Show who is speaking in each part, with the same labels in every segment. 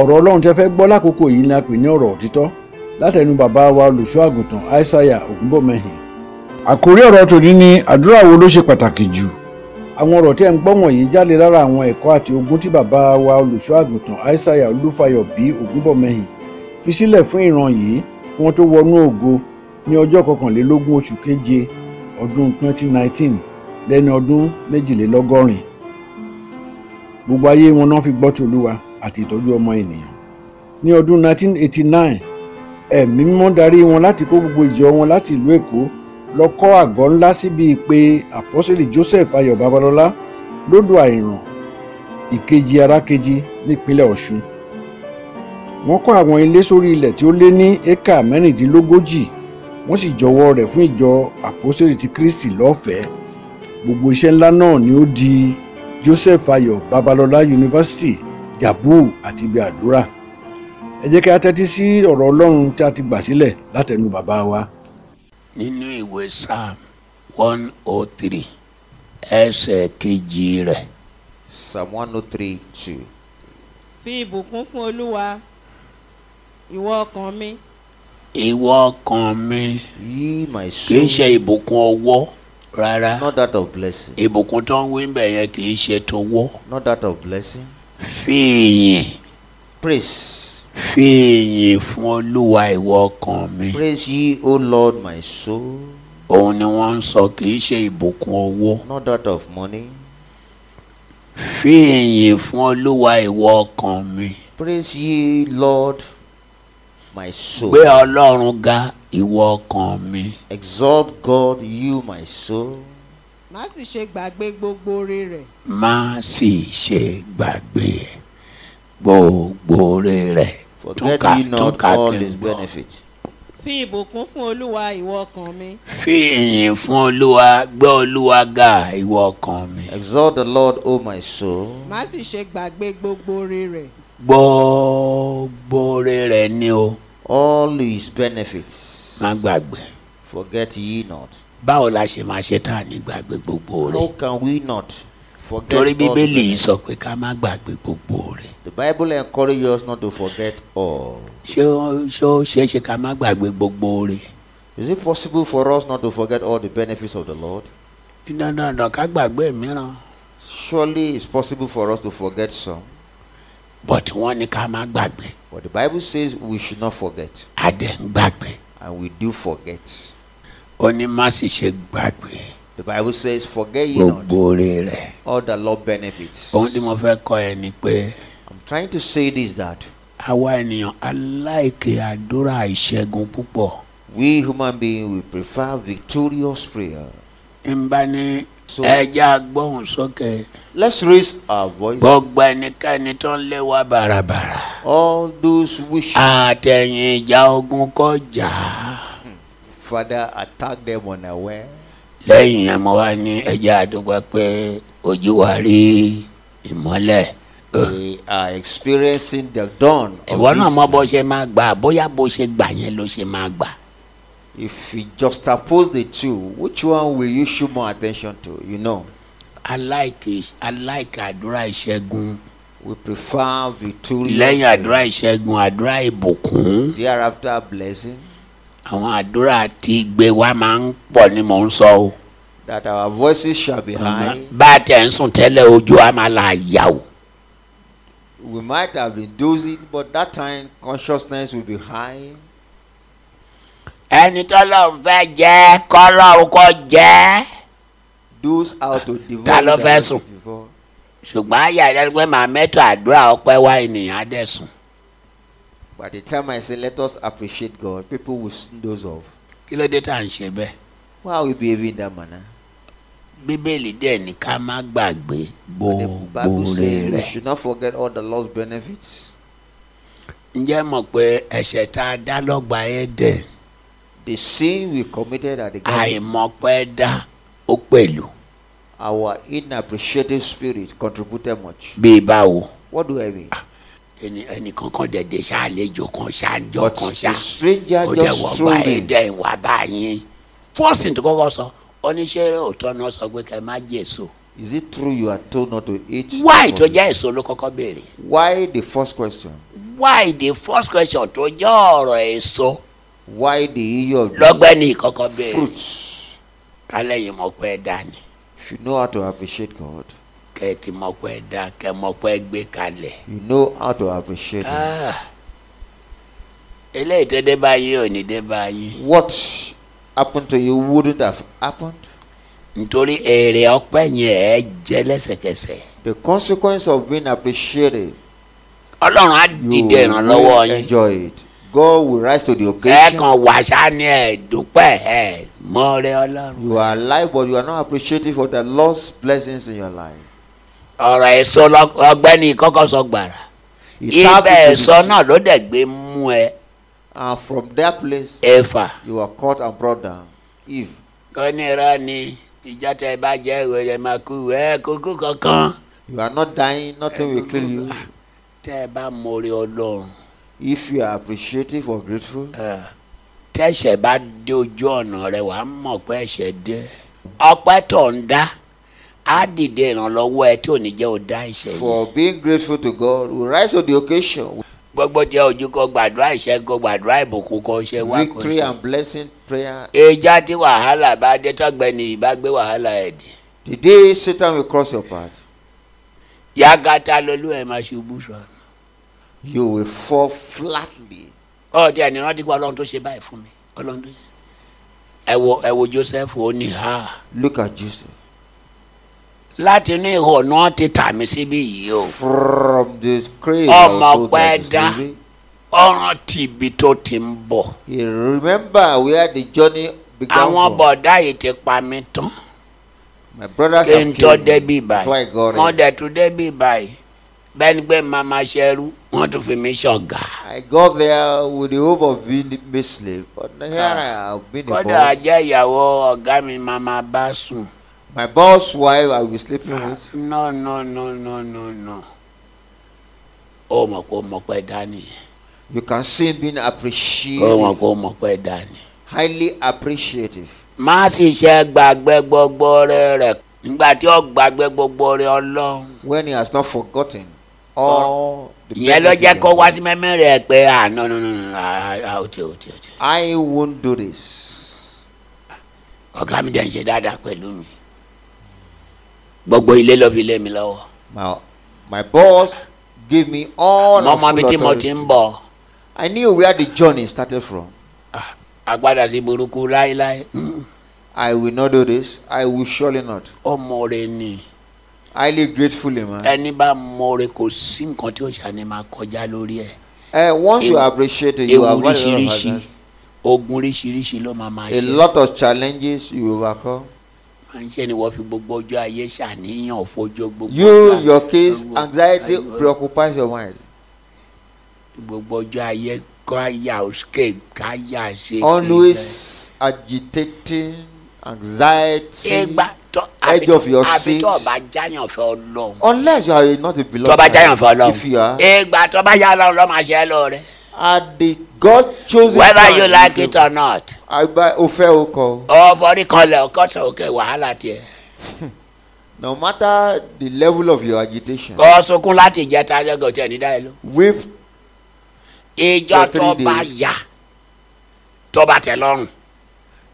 Speaker 1: ọ̀rọ̀ ọlọ́run tẹ́ fẹ́ gbọ́ lákòókò yìí ni a pè ní ọ̀rọ̀ òtítọ́ látẹnu bàbá wa olùṣọ́ àgùntàn aishaiya ògúnbọ̀mẹ́hìn.
Speaker 2: àkórí ọ̀rọ̀ tòní ni àdúrà wo ló ṣe pàtàkì jù
Speaker 1: àwọn ọ̀rọ̀ tí ẹ̀ ń gbọ́ wọ̀nyí jáde lára àwọn ẹ̀kọ́ àti ogun tí bàbá wa olùṣọ́ àgùntàn aishaiya olúfayọ bí ògúnbọ̀mẹ́hìn fi sílẹ̀ fún ìran yìí kí wọ́n tó wọnú ògo ní ọjọ́ kọkànlélógún oṣù keje ọdún 2019 lẹ́ni ọdún méjìlélọ́gọ́rin gbogbo ayé wọn náà fi gbọ́ ti olúwa àti ìtọ́jú ọmọ ènìyàn ní ọdún 1989 ẹ̀mí mímọ́ darí wọn láti kó gbogbo ìjọ wọn láti ìlú èkó lọ kọ́ àgọ́ ńlá síbi ìpè àpọ́sẹ̀lì joseph ayọ̀ babalọ́lá lódò àìràn ìkejì arákejì nípínlẹ̀ ọ̀ṣun wọ́n kọ́ àwọn ilé sórí ilẹ̀ tí ó lé ní éka mẹ́rìndínlógójì wọ́n sì jọwọ́ rẹ̀ fún ìjọ àpọ́sẹ̀lì ti kristi lọ́fẹ̀ẹ́ gbogbo iṣẹ́ ńlá náà ni ó di joseph ayọ̀ babalọ́lá university jabu àti ibi àdúrà ẹ jẹ́ kí a tẹ́tí sí ọ̀rọ̀ ọlọ́run tí a ti gbà sílẹ̀ látẹnu bàbá wa.
Speaker 3: nínú ìwé psalm one oh three ẹsẹ̀ kejì rẹ̀
Speaker 4: Psalm 103 2.
Speaker 5: fi ìbùkún fún olúwa ìwọ ọkàn mi
Speaker 3: ìwọ ọkàn mi
Speaker 4: Ye my
Speaker 3: kì í ṣe
Speaker 4: soul,
Speaker 3: ìbùkún ọwọ́ rárá
Speaker 4: not that of blessing,
Speaker 3: ìbùkún tó ń wí ń bẹ̀ yẹn kì í ṣe tọwọ́
Speaker 4: not that of blessing.
Speaker 3: fi ìyìn
Speaker 4: Praise,
Speaker 3: fi ìyìn fún olúwa ìwọ ọkàn mi
Speaker 4: praise ye, O Lord, my soul,
Speaker 3: òun ni wọ́n ń sọ kì í ṣe ìbùkún ọwọ́
Speaker 4: not that of money.
Speaker 3: fi ìyìn fún olúwa ìwọ ọkàn mi
Speaker 4: Praise ye, Lord, my soul.
Speaker 3: gbé ọlọ́run ga ìwọ ọkàn mi
Speaker 4: Exalt God, you, my soul.
Speaker 5: má sì ṣe gbàgbé gbogbo oore rẹ̀
Speaker 3: má sì ṣe gbàgbé ẹ̀. gbogbo oore rẹ̀
Speaker 4: Forget
Speaker 3: Túkà-
Speaker 4: ye not
Speaker 3: túkà
Speaker 4: all
Speaker 3: kí n
Speaker 4: his
Speaker 3: gbọ́.
Speaker 4: benefits.
Speaker 5: fi ìbùkún fún olúwa ìwọ ọkàn mi
Speaker 3: fi ìyìn fún olúwa gbé olúwa ga ìwọ ọkàn mi
Speaker 4: Exalt the Lord, O my soul.
Speaker 5: má sì ṣe gbàgbé gbogbo oore rẹ̀
Speaker 3: gbogbo oore rẹ̀ ni o
Speaker 4: All his benefits.
Speaker 3: má gbàgbé
Speaker 4: Forget ye not.
Speaker 3: báwo la ṣe máa ṣe tá a ní gbàgbé gbogbo oore
Speaker 4: How can we not forget
Speaker 3: torí
Speaker 4: all the
Speaker 3: bíbélì
Speaker 4: benefits?
Speaker 3: sọ pé ká má gbàgbé gbogbo oore
Speaker 4: The Bible encourages us not to forget all.
Speaker 3: ṣé ó- ṣé ó ṣeé ṣe ká má gbàgbé gbogbo oore
Speaker 4: Is it possible for us not to forget all the benefits of the Lord?
Speaker 3: dandandan ká gbàgbé mìíràn
Speaker 4: Surely it's possible for us to forget some.
Speaker 3: but wọ́n ní ká má gbàgbé
Speaker 4: But the Bible says we should not forget,
Speaker 3: adẹ̀ ń gbàgbé
Speaker 4: and we do forget.
Speaker 3: ó ní má sì ṣe gbàgbé
Speaker 4: The Bible says, Forget ye
Speaker 3: gbogbo
Speaker 4: not
Speaker 3: oore rẹ̀
Speaker 4: all the Lord benefits.
Speaker 3: ohun tí mo fẹ́ kọ́ ẹ ni pé
Speaker 4: I'm trying to say this that
Speaker 3: àwa ènìyàn aláìkè àdúrà ìṣẹ́gun púpọ̀
Speaker 4: we human beings we prefer victorious prayer.
Speaker 3: ń bá ní
Speaker 4: So-
Speaker 3: ẹja gbóhùn sókè
Speaker 4: Let's raise our voice.
Speaker 3: gbogbo ẹnikẹ́ni tó ń lé wa bàràbàrà
Speaker 4: All those wish
Speaker 3: Ah. àtẹ̀yìn ìjà ogun kọjá
Speaker 4: Father attack them unaware.
Speaker 3: lẹ́yìn yẹn mo wá ní ẹja àdúgbò pé ojú wa rí ìmọ́lẹ̀
Speaker 4: They are experiencing the dawn. of
Speaker 3: ìwọ náà
Speaker 4: this
Speaker 3: mọ bó ṣe máa gbà bóyá bó ṣe gbà yẹn ló ṣe máa gbà
Speaker 4: If you just oppose the two, which one will you show more attention to? You know,
Speaker 3: aláìkè aláìkè àdúrà ìṣẹ́gun
Speaker 4: we prefer victory.
Speaker 3: lẹ́yìn àdúrà ìṣẹ́gun àdúrà ìbùkún.
Speaker 4: Thereafter, blessing.
Speaker 3: àwọn àdúrà tí gbé wa máa ń pọ̀ ni mò ń sọ o.
Speaker 4: That our voices shall be high.
Speaker 3: bá a tẹ̀ ń sùn tẹ́lẹ̀ ojú a máa la yà o.
Speaker 4: We might have been dozing, but that time consciousness will be high.
Speaker 3: ẹni tọ́lọ́run fẹ́ jẹ́ kọ́lọ́run kọ́ jẹ́.
Speaker 4: Those out to devour.
Speaker 3: Ta ló
Speaker 4: that
Speaker 3: fẹ́
Speaker 4: will
Speaker 3: sùn?
Speaker 4: devour.
Speaker 3: ṣùgbọ́n àyà rẹ pé màá mẹ́tọ̀ àdúrà ọpẹ́ wá ènìyàn á dẹ̀ sùn.
Speaker 4: By the time I say, let us appreciate God, people will doze off.
Speaker 3: kí ló dé tá à ń ṣe bẹ́ẹ̀.
Speaker 4: Why are we behaving in that manner?
Speaker 3: bíbélì dẹ̀ ní ká má gbàgbé
Speaker 4: The
Speaker 3: gbogbo
Speaker 4: Bible says we
Speaker 3: rẹ̀.
Speaker 4: should not forget all the Lord's benefits.
Speaker 3: ǹjẹ́ mọ̀ pé ẹ̀ṣẹ̀ tá a dá lọ́gba ẹ̀ dẹ̀
Speaker 4: The sin we committed at the garden.
Speaker 3: àìmọ̀pẹ́ dá ó pẹ̀lú
Speaker 4: our inappreciative spirit contributed much.
Speaker 3: bíi báwo.
Speaker 4: What do I mean?
Speaker 3: ẹni ẹni kankan dẹ̀dẹ̀ ṣàlejò kan ṣàjọ
Speaker 4: But
Speaker 3: kan
Speaker 4: the
Speaker 3: ṣá
Speaker 4: stranger
Speaker 3: ó dẹ̀
Speaker 4: just
Speaker 3: wọ́n
Speaker 4: strolled
Speaker 3: bá
Speaker 4: in.
Speaker 3: yín dẹ̀ wá bá yín fọ́ọ̀sì tó kọ́kọ́ sọ oníṣẹ́ òótọ́ náà sọ pé kẹ́ ẹ má jẹ èso
Speaker 4: Is it true you are told not to eat?
Speaker 3: wáì tó
Speaker 4: fruit?
Speaker 3: jẹ́ èso ló kọ́kọ́ béèrè
Speaker 4: Why the first question?
Speaker 3: why the first question tó jẹ́ ọ̀rọ̀ èso
Speaker 4: why the EU of
Speaker 3: lọ́gbẹ́ni ìkọ́kọ́ béèrè
Speaker 4: fruits
Speaker 3: kálẹ̀ yìí mọ̀ pé ẹ dá ni
Speaker 4: you know how to appreciate God
Speaker 3: kẹ́ ẹ ti mọ̀ pé ẹ dá kẹ́ ẹ mọ̀ pé ẹ gbé kalẹ̀.
Speaker 4: you know how to appreciate Him.
Speaker 3: Ah. eléyìí tó dé báyìí ò ní dé báyìí
Speaker 4: what happened to you wouldn't have happened
Speaker 3: nítorí èrè ọpẹ́ yẹn ẹ jẹ́ lẹ́sẹ̀kẹsẹ̀
Speaker 4: the consequence of being appreciated
Speaker 3: ọlọ́run á
Speaker 4: you
Speaker 3: dìde ìrànlọ́wọ́
Speaker 4: will
Speaker 3: yín
Speaker 4: enjoy it God will rise to the
Speaker 3: ẹ
Speaker 4: occasion
Speaker 3: kàn wá sani ẹ dúpẹ́ ẹ mọ́rẹ́ ọlọ́run
Speaker 4: you are alive but you are not appreciative for the Lord's blessings in your life
Speaker 3: ọ̀rọ̀ èso lọ- ọgbẹ́ni kọ́kọ́ sọ gbàrà
Speaker 4: It
Speaker 3: ibẹ̀
Speaker 4: happened to
Speaker 3: èso
Speaker 4: you.
Speaker 3: náà ló dẹ̀ gbé mú ẹ
Speaker 4: and from that place
Speaker 3: ẹ̀fà
Speaker 4: you are caught and brought down Eve
Speaker 3: ó ní irọ́ ni ìjọ tẹ bá jẹ́ ìwé rẹ̀ máa kú ẹ kókó kankan
Speaker 4: you are not dying nothing will kill you
Speaker 3: tẹ bá mọ́rẹ́ ọlọ́run
Speaker 4: if you are appreciative or grateful
Speaker 3: Eh, tẹ́sẹ̀ bá dé ojú ọ̀nà rẹ wàá mọ̀ pé ẹ̀ṣẹ̀ dé ọpẹ́ tó ń dá á dìde ìrànlọ́wọ́ ẹ tí ò ní jẹ́ ò dá ẹ̀ṣẹ̀ yìí
Speaker 4: for being grateful to God will rise to the occasion
Speaker 3: gbogbo jẹ́ ojú kó gbàdúrà ìṣẹ́gun gbàdúrà ìbùkún kó ṣe wá kó
Speaker 4: victory
Speaker 3: ṣe.
Speaker 4: and blessing prayer
Speaker 3: ìjà tí wàhálà bá dé tọ́gbẹ́ni ìbá gbé wàhálà ẹ̀ dé
Speaker 4: the day Satan will cross your path
Speaker 3: yàgàtà lolú ẹ̀ máa ṣubú sọnù.
Speaker 4: you will fall flatly
Speaker 3: ọ̀ọ́dẹ ẹni rántí pé ọlọ́run tó ṣe báyìí fún mi ọlọ́run tó ṣe. ẹ wo ẹ wo Joseph ó ní ha
Speaker 4: look at Jesus
Speaker 3: láti inú ihò náà ti tà mí síbí yìí o.
Speaker 4: from the grave
Speaker 3: Ọmọ
Speaker 4: also that is
Speaker 3: pẹ́ dá.
Speaker 4: living.
Speaker 3: ọ̀ràn tìbí tó ti ń bọ̀.
Speaker 4: he remember where the journey began
Speaker 3: àwọn
Speaker 4: from
Speaker 3: bọ̀dá yìí ti pa mí tán
Speaker 4: my brothers
Speaker 3: kí n
Speaker 4: have
Speaker 3: tó
Speaker 4: killed me
Speaker 3: débì
Speaker 4: before I
Speaker 3: báyìí
Speaker 4: got
Speaker 3: wọ́n
Speaker 4: it
Speaker 3: dẹ̀ tún débì báyìí bẹ́ẹ̀ ni pé màmá ṣẹrú wọ́n tún fi mí ṣọ̀gá.
Speaker 4: I got there with the hope of being misled but here
Speaker 3: Ah.
Speaker 4: I have been a
Speaker 3: kódà
Speaker 4: boss
Speaker 3: ajá ìyàwó ọ̀gá mi màmá bá sùn.
Speaker 4: my boss wife I will sleeping with
Speaker 3: no no no no no no. ó mọ̀ pé ó mọ̀ pé dání.
Speaker 4: you can see him being
Speaker 3: ó mọ̀
Speaker 4: appreciated
Speaker 3: pé ó mọ̀ pé dání.
Speaker 4: highly appreciative
Speaker 3: má sì ṣe gbàgbé gbogbo rẹ̀ nígbà tí ó gbàgbé gbogbo rẹ̀ ọlọ́run.
Speaker 4: when he has not forgotten all
Speaker 3: Oh.
Speaker 4: the
Speaker 3: ìyẹn ló
Speaker 4: benefits
Speaker 3: jẹ́
Speaker 4: he
Speaker 3: kó
Speaker 4: has
Speaker 3: wá
Speaker 4: done.
Speaker 3: sí mẹ́mẹ́ rẹ̀ pé ah no no no no ah ah, ó ti ó ti ó ti
Speaker 4: I won't do this
Speaker 3: ọ̀gá mi dẹ̀ ń ṣe dáadáa pẹ̀lú mi gbogbo ilé ló fi lé mi lọ́wọ́
Speaker 4: my my boss gave me all
Speaker 3: mo
Speaker 4: and
Speaker 3: mọ
Speaker 4: full
Speaker 3: ibi tí mo ti
Speaker 4: authority.
Speaker 3: ń bọ̀
Speaker 4: I knew where the journey started from
Speaker 3: agbada sí burúkú láéláé Mm,
Speaker 4: I will not do this I will surely not
Speaker 3: ó mọ̀ọ́re ni
Speaker 4: highly gratefully man.
Speaker 3: ẹni bá mọ̀ọ́re kò sí nǹkan tí òṣà ni máa kọjá lórí ẹ̀
Speaker 4: Eh, once you
Speaker 3: Ewu-
Speaker 4: appreciate it, you
Speaker 3: ewu
Speaker 4: have got a lot of
Speaker 3: oríṣiríṣi
Speaker 4: hazards.
Speaker 3: ogun oríṣiríṣi ló máa máa
Speaker 4: a
Speaker 3: ṣe
Speaker 4: lot of challenges you overcome.
Speaker 3: máa ń ṣe ni wọ́n fi gbogbo ọjọ́ ayé ṣàníyàn fojú gbogbo
Speaker 4: Use
Speaker 3: ọjọ́-
Speaker 4: your case,
Speaker 3: gbogbo-
Speaker 4: anxiety
Speaker 3: ayé-
Speaker 4: preoccupies your mind.
Speaker 3: gbogbo ọjọ́ ayé káyà òsìkè káyà ṣe kí
Speaker 4: Always agitating,
Speaker 3: ẹ
Speaker 4: anxiety.
Speaker 3: gbà tọ́
Speaker 4: edge of your
Speaker 3: àbí
Speaker 4: seat.
Speaker 3: tó bá jáyàn fẹ́ ọlọ́run
Speaker 4: Unless you are not
Speaker 3: tó
Speaker 4: a
Speaker 3: bá
Speaker 4: beloved,
Speaker 3: jáyàn fẹ́
Speaker 4: child,
Speaker 3: ọlọ́run
Speaker 4: if you are,
Speaker 3: ẹ gbà tó bá yà ọlọ́run ló máa ṣe ẹ́ lóore
Speaker 4: at the God chosen
Speaker 3: whether
Speaker 4: time,
Speaker 3: you like
Speaker 4: if
Speaker 3: it or not
Speaker 4: Agba- Ofe Oko,
Speaker 3: ọ forí kanlẹ̀ ọkọ̀tàn òkè wàhálà tiẹ̀
Speaker 4: no matter the level of your agitation,
Speaker 3: kọ́ sunkún láti jẹ́ tájọ́gọ̀ tiẹ̀ ní dáyẹ̀ ló
Speaker 4: weep
Speaker 3: ìjọ
Speaker 4: For
Speaker 3: tó
Speaker 4: three
Speaker 3: bá
Speaker 4: days.
Speaker 3: yà tó bá tẹ́ lọ́rùn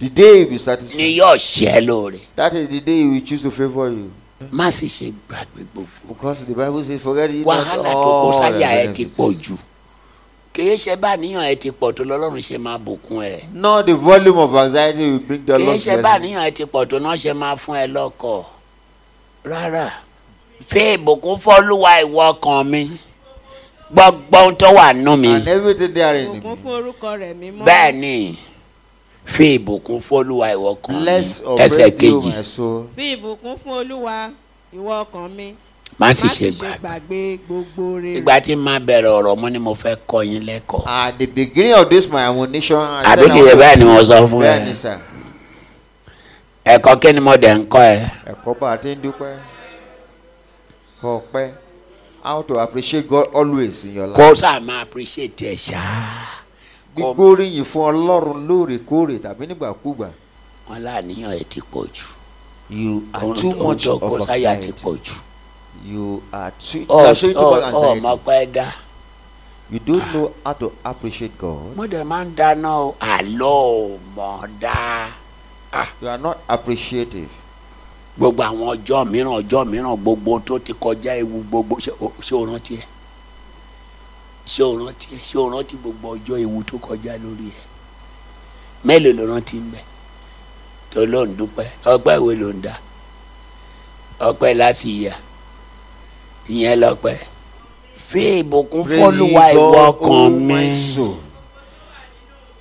Speaker 4: the day you be
Speaker 3: ni
Speaker 4: satisfied.
Speaker 3: yóò ṣe ẹ́ lóore
Speaker 4: That is the day he will choose to favor you.
Speaker 3: má sì ṣe gbàgbé gbogbo
Speaker 4: Because the Bible says, forget it.
Speaker 3: wàhálà tó kó sáyà ẹ ti pọ̀ jù kìí ṣe bá níyàn ẹ ti pọ̀ tó lọ́lọ́run ṣe máa bùkún ẹ
Speaker 4: No, the volume of anxiety will bring the
Speaker 3: kìí
Speaker 4: Lord's
Speaker 3: ṣe bá
Speaker 4: blessing.
Speaker 3: níyàn ẹ ti pọ̀ tó náà ṣe máa fún ẹ lọ́kọ̀ rárá fi ìbùkún fọlúwa ìwọ ọkàn mi gbogbo ohun tó wà nù mí
Speaker 4: And everything therein.
Speaker 5: Bùkún fún orúkọ rẹ̀ mímọ́.
Speaker 3: bẹ́ẹ̀ ni fi ìbùkún fọlúwa ìwọ ọkàn mi
Speaker 4: Bless or
Speaker 3: ẹsẹ̀
Speaker 4: praise you,
Speaker 3: kejì
Speaker 4: my soul.
Speaker 5: Fi ìbùkún fún Olúwa ìwọ ọkàn mi.
Speaker 3: má
Speaker 5: Má
Speaker 3: sì ṣe gbàgbé
Speaker 5: gbàgbé gbogbo rere.
Speaker 3: ìgbà tí màá bẹ̀rẹ̀ ọ̀rọ̀ mo ni mo fẹ́ kọ́ yín lẹ́kọ̀ọ́
Speaker 4: At the beginning of this, my ammunition. I said
Speaker 3: àbí
Speaker 4: I
Speaker 3: kìí
Speaker 4: want
Speaker 3: ṣe
Speaker 4: to-
Speaker 3: bẹ́ẹ̀ ni mo sọ fún ẹ
Speaker 4: Bẹ́ẹ̀ ni sà.
Speaker 3: ẹ̀kọ́ kí ni mo dẹ̀ ń kọ́ ẹ.
Speaker 4: Ẹ̀kọ́ bá a ti ń dúpẹ́. Kọ pẹ́. How to appreciate God always in your life.
Speaker 3: kó sáà máa appreciate ẹ ṣáá
Speaker 4: Gbígbóríyìn fún Ọlọ́run lóòrèkóòrè tàbí nígbàkúgbà.
Speaker 3: wọn láàníyàn ẹ ti pọ̀ jù
Speaker 4: You are
Speaker 3: Ohun
Speaker 4: Ah, too
Speaker 3: tó- ohun
Speaker 4: much
Speaker 3: tó
Speaker 4: of
Speaker 3: kó sáyà ti
Speaker 4: anxiety.
Speaker 3: pọ̀ jù
Speaker 4: You are too.
Speaker 3: ọ oh,
Speaker 4: You are showing too
Speaker 3: ọ-
Speaker 4: much
Speaker 3: ọ
Speaker 4: anxiety.
Speaker 3: mọ pé dá
Speaker 4: You don't know how to appreciate God.
Speaker 3: mo dẹ̀ máa ń dáná o àlọ́ ò mọ̀ dá
Speaker 4: You are not appreciative.
Speaker 3: gbogbo àwọn ọjọ́ mìíràn ọjọ́ mìíràn gbogbo ohun tó ti kọjá ewu gbogbo ṣé o- ṣé o rántí ẹ ṣé o rántí ẹ ṣé o rántí gbogbo ọjọ́ ewu tó kọjá lórí ẹ mélòó ló rántí ń bẹ tó ló ń dúpẹ́ ọpẹ́ wo ló ń dá ọpẹ́ láti yà ìyẹn lọ́pẹ́ fi ìbùkún fọ́lùwà ìwọ ọkàn mi.
Speaker 4: oh, soul.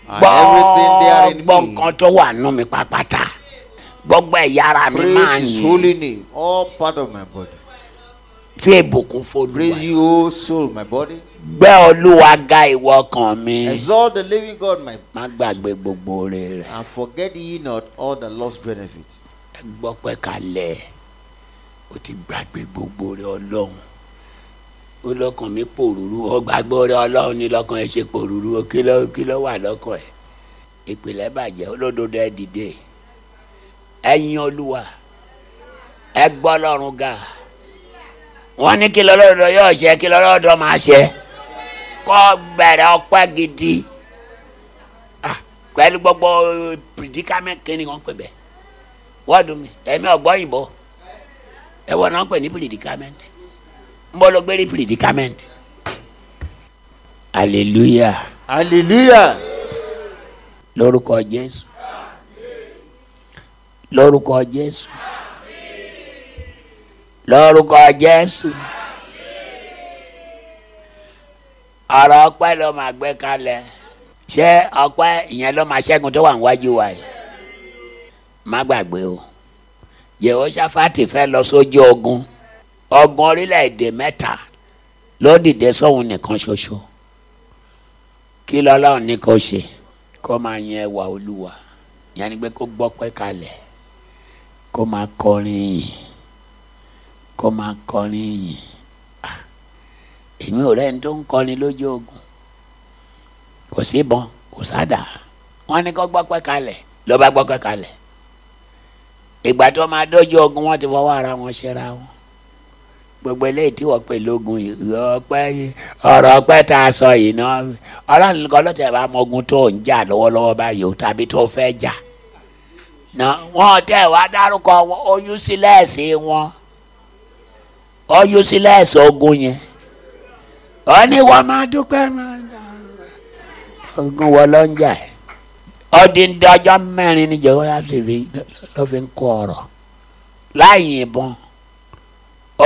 Speaker 4: And everything there in
Speaker 3: gbọ́
Speaker 4: me.
Speaker 3: nǹkan tó wà nù mí pápátá gbogbo ẹ̀yà ara mi máa ń
Speaker 4: Praise His
Speaker 3: yìn
Speaker 4: holy name. All part of my body.
Speaker 3: tí ìbùkún f'Olúwa
Speaker 4: Praise you, O soul, my body.
Speaker 3: gbẹ́ olúwa ga ìwọ ọkàn mi
Speaker 4: Exalt the living God, my
Speaker 3: má gbàgbé gbogbo oore rẹ̀
Speaker 4: and forget ye not all the lost benefit.
Speaker 3: ẹ gbọ́ pẹ́ kalẹ̀ o ti gbàgbé gbogbo oore ọlọ́run ó lọ́kàn mi pòrúurú ó gbàgbé oore ọlọ́run ní lọ́kàn ẹ ṣe pòrúurú ó kí ló kí ló wà lọ́kàn ẹ ìpìlẹ̀ bàjẹ́ olódodo ẹ dìde ẹ yin olúwa ẹ gbọ́ lọ́run ga wọ́n ní kí lọ́lọ́dọ̀ yóò ṣe kí lọ́lọ́dọ̀ máa ṣe kọ́ bẹ̀rẹ̀ ọpẹ́ gidi Ah, pẹ̀lú gbogbo predicament kínní kan pè bẹ́ẹ̀ wọ́ọ̀dù mi ẹ̀mí ọ̀gbọ́yìnbó ẹ̀wọ̀n náà ń pè ní predicament ń bọ́ lọ gbé rí predicament hallelujah
Speaker 4: Hallelujah.
Speaker 3: lórúkọ jésù lórúkọ jésù lórúkọ jésù ọ̀rọ̀ ọpẹ́ ló máa gbé kalẹ̀ ṣé ọpẹ́ ìyẹn ló máa ṣẹ́gun tó wà níwájú wa yìí má gbàgbé o jehoshaphat fẹ́ lọ sójú ogun ogun orílẹ̀-èdè mẹ́ta ló dìde sóhun nìkan ṣoṣo kí lọ́lọ́run ní kó ṣe kó máa yin ẹwà olúwa ìyẹn ni pé kó gbọ́pẹ́ kalẹ̀ kó máa kọrin yìí kó máa kọrin yìí Ah, èmi ò rẹ́ni tó ń kọrin lójú ogun kò síbọn kò sádà wọ́n ní kó gbọ́pẹ́ kalẹ̀ ló bá gbọ́pẹ́ kalẹ̀ ìgbà tó máa dójú ogun wọ́n ti fọwọ́ ara wọn ṣera wọn gbogbo eléyìí tí wọ́n pè lógun yìí ọpẹ́ yìí ọ̀rọ̀ ọpẹ́ tá a sọ yìí náà ọlọ́run nìkan lọ́tẹ̀ bá mọ ogun tó ń jà lọ́wọ́lọ́wọ́ báyìí o tàbí tó fẹ́ jà na wọn tẹ wá dárúkọ wọn oyún sílẹ̀ẹ̀sì wọn oyún sílẹ̀ẹ̀sì ogun yẹn ó ní wọn máa dúpẹ́ máa dá ogun wọn ló ń jà ẹ̀ ọdún dọjọ́ mẹ́rin ni jehova ti fi ló fi ń kó ọ̀rọ̀ láì yìnbọn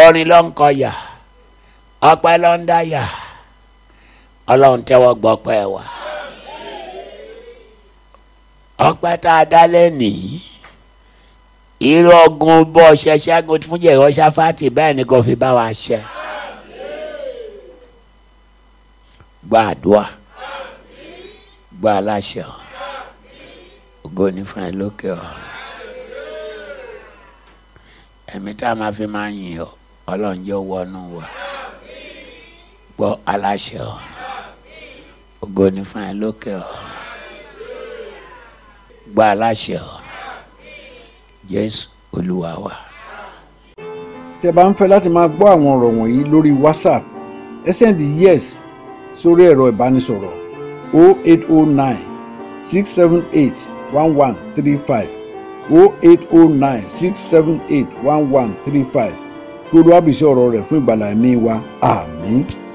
Speaker 3: orin ló ń kọ yà ọpẹ́ ló ń dá yà ọlọ́run tẹ́wọ́ gbọ́ pẹ́ wa ọpẹ́ tá a dá lẹ́nìí irú ogun bó ṣe ṣẹ́gun fún jẹ̀wọ́ ṣáfátì bẹ́ẹ̀ ni kò fi bá wa ṣe gbàdúrà gbà láṣẹ ọ ògo ní fún ẹ lókè ọ ẹ̀mí tá a máa fi máa yìn ọ ọlọ́run jẹ́ wọnú wa gbọ́ aláṣẹ ọ ògo ni fún ẹ lókè ọ̀run gba aláṣẹ ọ̀run jésù olúwa wa.
Speaker 1: tẹ́ bá ń fẹ́ láti máa gbọ́ àwọn ọ̀rọ̀ wọ̀nyí lórí whatsapp ẹ send yes sórí ẹ̀rọ ìbánisọ̀rọ̀ 0809 678 1135 0809 678 1135 kí olúwàbísí ọ̀rọ̀ rẹ̀ fún ìgbàlá ẹ̀mí wa àmín.